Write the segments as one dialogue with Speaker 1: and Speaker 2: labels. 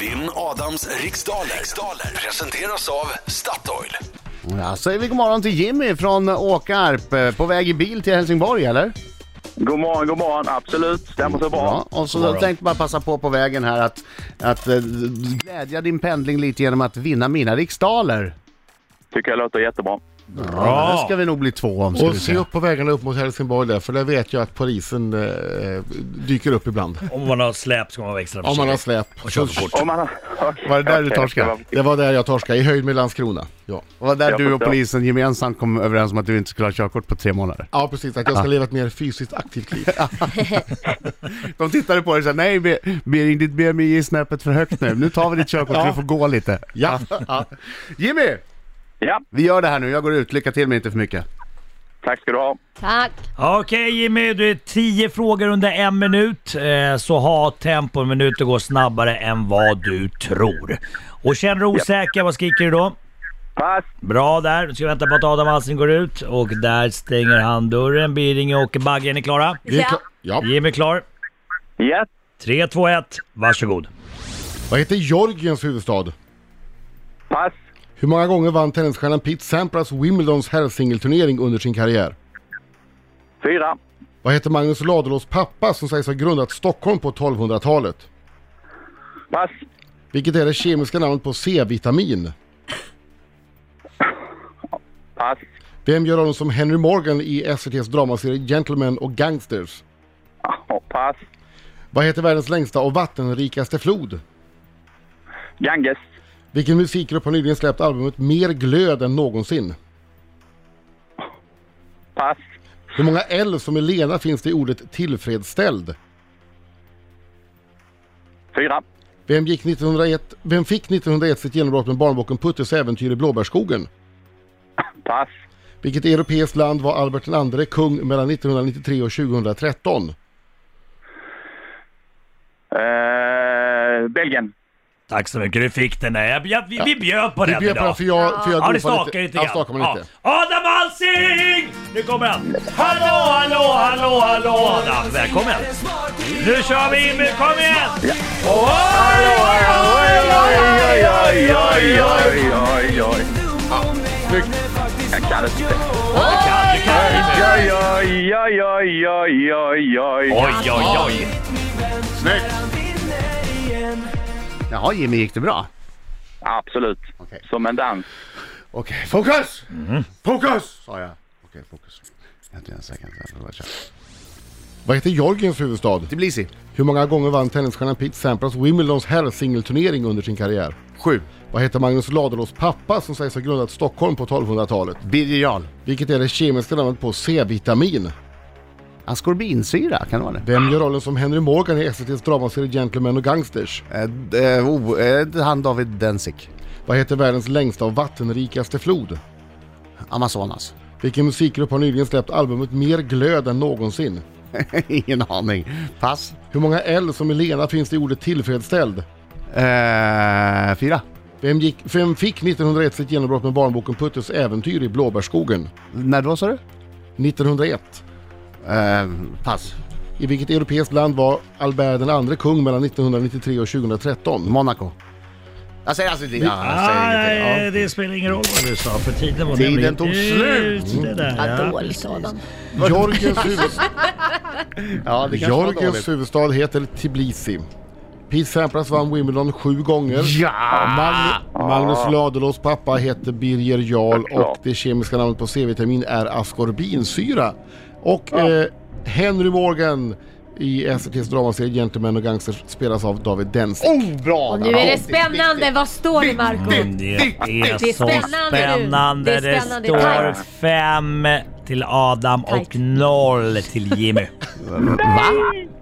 Speaker 1: Vinn Adams riksdaler. riksdaler presenteras av Statoil.
Speaker 2: Ja, säger vi god morgon till Jimmy från Åkarp. eh, På väg i bil till Helsingborg, eller?
Speaker 3: God morgon, god morgon. Absolut, stämmer så bra.
Speaker 2: Ja, och så jag tänkte bara passa på på vägen här att, att eh, glädja din pendling lite genom att vinna mina riksdaler.
Speaker 3: Tycker jag låter jättebra.
Speaker 2: Ja, det ska vi nog bli två om, ska
Speaker 4: Och
Speaker 2: vi
Speaker 4: se
Speaker 2: se.
Speaker 4: upp på vägarna upp mot Helsingborg där, för där vet jag att polisen eh, dyker upp ibland.
Speaker 5: Om man har släp ska man vara extra
Speaker 4: Om man har
Speaker 5: försiktig.
Speaker 4: släp.
Speaker 5: Och kör för fort.
Speaker 3: Om man har... Okej,
Speaker 2: Var det där du
Speaker 3: okej,
Speaker 2: torskade?
Speaker 3: jag ska vara-
Speaker 4: Det var där jag torskade, i höjd med Landskrona. Ja,
Speaker 2: Det var där
Speaker 3: Jag
Speaker 2: du och
Speaker 3: förstår.
Speaker 2: polisen gemensamt kom överens om att du inte skulle ha körkort på tre månader.
Speaker 4: ja precis. Att jag
Speaker 5: Ah.
Speaker 4: ska leva ett mer fysiskt aktivt liv.
Speaker 2: De tittade på dig och sa nej Be- Bering, ditt BMI är snäppet för högt nu. Nu tar vi ditt körkort så
Speaker 4: Ja.
Speaker 2: du får gå lite.
Speaker 4: Ja.
Speaker 2: Jimmy!
Speaker 3: Ja,
Speaker 2: Vi gör det här nu, jag går ut. Lycka till men inte för mycket.
Speaker 3: tack ska du ha.
Speaker 6: Tack.
Speaker 5: Okej Jimmy, du är tio frågor under en minut. eh, Så ha tempo, en minut går snabbare än vad du tror. Och känner du osäker, vad skriker du då?
Speaker 3: Pass.
Speaker 5: Bra där, nu ska vi vänta på att Adam Alsing går ut och där stänger han dörren. Biringe och Baggen är klara.
Speaker 4: Vi är kla- ja.
Speaker 5: Jimmy är klar.
Speaker 3: Yes.
Speaker 5: 3, 2, 1, varsågod.
Speaker 4: Vad heter Georgiens huvudstad?
Speaker 3: Pass.
Speaker 4: Hur många gånger vann tennisstjärnan Pete Sampras Wimbledons herrsingelturnering under sin karriär?
Speaker 3: Fyra.
Speaker 4: Vad heter Magnus Ladulås pappa som sägs ha grundat Stockholm på 1200-talet?
Speaker 3: Pass.
Speaker 4: Vilket är det kemiska namnet på C-vitamin?
Speaker 3: Pass.
Speaker 4: Vem gör rollen som Henry Morgan i SVTs dramaserie Gentlemen och Gangsters?
Speaker 3: Ja, Ah, Pass.
Speaker 4: Vad heter världens längsta och vattenrikaste flod?
Speaker 3: Ganges.
Speaker 4: Vilken musikgrupp har nyligen släppt albumet Mer glöd än någonsin?
Speaker 3: Pass.
Speaker 4: Hur många L som är Lena finns det i ordet tillfredsställd?
Speaker 3: Fyra.
Speaker 4: Vem, gick 1901, vem fick 1901 sitt genombrott med barnboken Puttes äventyr i blåbärsskogen?
Speaker 3: Pass.
Speaker 4: Vilket europeiskt land var Albert II kung mellan 1993 och 2013?
Speaker 3: Eh, Belgien.
Speaker 5: Tack så mycket, du fick den där. Jag, jag, vi, vi bjöd på
Speaker 4: Det
Speaker 5: den
Speaker 4: blir bara
Speaker 5: idag.
Speaker 4: för jag, för jag
Speaker 5: Ja,
Speaker 4: dropar
Speaker 5: det stakar lite
Speaker 4: lite. Ja, stakar man
Speaker 5: Ja.
Speaker 4: lite.
Speaker 5: Adam Alsing! Nu kommer han. Hallå, hallå, hallå, hallå Adam. Välkommen. Nu kör vi in. nu, Kom igen!
Speaker 3: Oj, oj, oj, oj, oj, oj. Jag kan inte. Oj, oj, oj, oj, oj, oj, oj.
Speaker 5: Oj, oj, oj.
Speaker 2: Jaha Jimmy, gick det bra?
Speaker 3: Absolut. Som en dans.
Speaker 2: Okej, fokus!
Speaker 5: Mm.
Speaker 2: Fokus! Sa jag. Ah, Okej, fokus. Vänta en sekund. jag får bara köra.
Speaker 4: Vad heter Georgiens huvudstad?
Speaker 2: Tbilisi.
Speaker 4: Hur många gånger vann tennisstjärnan Pete Sampras Wimbledons herrsingelturnering under sin karriär?
Speaker 2: Sju.
Speaker 4: Vad heter Magnus Ladulås pappa som sägs ha grundat Stockholm på 1200-talet?
Speaker 2: Birger Jarl.
Speaker 4: Vilket är det kemiska namnet på C-vitamin?
Speaker 2: Askorbinsyra, kan det vara det?
Speaker 4: Vem gör rollen som Henry Morgan i SVTs dramaserie Gentlemen och Gangsters?
Speaker 2: Eh, d- eh, oh, eh, han David Densik.
Speaker 4: Vad heter världens längsta och vattenrikaste flod?
Speaker 2: Amazonas.
Speaker 4: Vilken musikgrupp har nyligen släppt albumet Mer glöd än någonsin?
Speaker 2: Ingen aning. Pass.
Speaker 4: Hur många L som i Lena finns det i ordet tillfredsställd?
Speaker 2: Eh, fyra.
Speaker 4: Vem, gick, vem fick 1901 sitt genombrott med barnboken Puttes äventyr i blåbärsskogen?
Speaker 2: När då sa du?
Speaker 4: 1901.
Speaker 2: Eh, pass.
Speaker 4: I vilket europeiskt land var Albert den andre kung mellan 1993 och 2013?
Speaker 2: Monaco. Jag säger alltså inte... Ja, jag
Speaker 5: Ah,
Speaker 2: säger ingenting.
Speaker 5: nej, det spelar ingen roll vad du sa för tiden var
Speaker 2: Tiden
Speaker 5: nämligen
Speaker 2: tog
Speaker 5: ut,
Speaker 2: slut.
Speaker 5: det där, ja.
Speaker 6: Vad dåligt Adam.
Speaker 4: Georgiens, huvud,
Speaker 2: Ja, det kanske var dåligt.
Speaker 4: Georgiens huvudstad heter Tbilisi. Pete Sampras vann Wimbledon sju gånger.
Speaker 2: Ja!
Speaker 4: Mag- Magnus Ladulås pappa heter Birger Jarl
Speaker 3: Ja.
Speaker 4: och det kemiska namnet på C-vitamin är askorbinsyra. Och eh, Henry Morgan i SRTs dramaserie Gentlemen och Gangsters spelas av David Denz.
Speaker 2: Oh, bra!
Speaker 6: Och nu är det spännande. Vad står det Marco?
Speaker 5: Det är
Speaker 6: Det
Speaker 5: så
Speaker 6: är spännande, du.
Speaker 5: spännande.
Speaker 6: Det är
Speaker 5: Det
Speaker 6: spännande.
Speaker 5: står
Speaker 6: Tajt.
Speaker 5: fem till Adam och
Speaker 6: Tajt.
Speaker 5: noll till Jimmy.
Speaker 2: Va?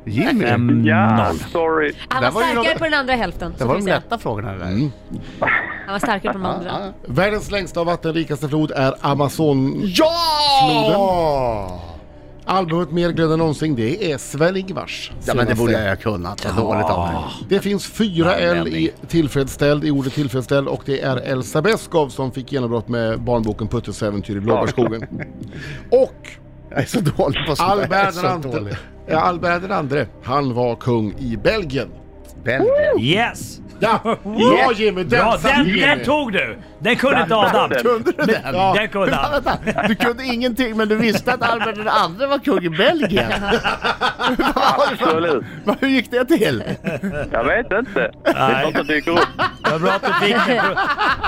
Speaker 2: Jimmy?
Speaker 5: Fem,
Speaker 3: Ja,
Speaker 5: noll.
Speaker 3: sorry.
Speaker 6: Han
Speaker 2: Där
Speaker 6: var
Speaker 2: var ju
Speaker 6: starkare
Speaker 2: något-
Speaker 6: på den andra hälften.
Speaker 2: Det
Speaker 6: Så
Speaker 2: var
Speaker 6: kan vi
Speaker 2: de
Speaker 6: säga.
Speaker 2: lätta frågorna där.
Speaker 6: Han var starkare på den andra.
Speaker 4: Världens längsta och vattenrikaste flod är Amazon.
Speaker 2: Ja!
Speaker 4: Albumet Mer glöd än någonsin, det är Sven-Ingvars.
Speaker 2: Ja, men det borde jag ha kunnat. Vad dåligt av mig.
Speaker 4: Det finns fyra L i tillfredsställd, i ordet tillfredsställd och det är Elsa Beskow som fick genombrott med barnboken Puttes äventyr i blåbärsskogen. Och
Speaker 2: Jag är så dålig på sånt där. Jag är
Speaker 4: Albert
Speaker 2: så
Speaker 4: den andre,
Speaker 2: dålig.
Speaker 4: ja, Albert den andre, han var kung i Belgien.
Speaker 2: Belgien.
Speaker 5: Yes!
Speaker 4: Ja, bra Jimmy! Den
Speaker 5: Bra,
Speaker 4: satt
Speaker 5: den,
Speaker 4: Jimmy.
Speaker 5: den tog du! Den kunde inte Adam.
Speaker 2: Kunde du den?
Speaker 4: Ja.
Speaker 5: Den kunde
Speaker 2: Vänta,
Speaker 5: han.
Speaker 2: vänta. Du kunde ingenting men du visste att Albert den andre var kung i Belgien.
Speaker 3: Absolut.
Speaker 2: Vad- Hur gick det till?
Speaker 3: Jag vet inte. Det är sånt som dyker upp.
Speaker 5: Vad bra att du fick den. för-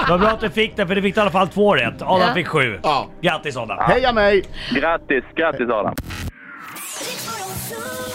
Speaker 5: Vad bra att du fick den för du fick i alla fall två rätt. Adam
Speaker 2: Ja.
Speaker 5: fick sju.
Speaker 4: Ja.
Speaker 5: Grattis Adam.
Speaker 2: Heja mig!
Speaker 3: Grattis, grattis Adam.
Speaker 7: Rick 102.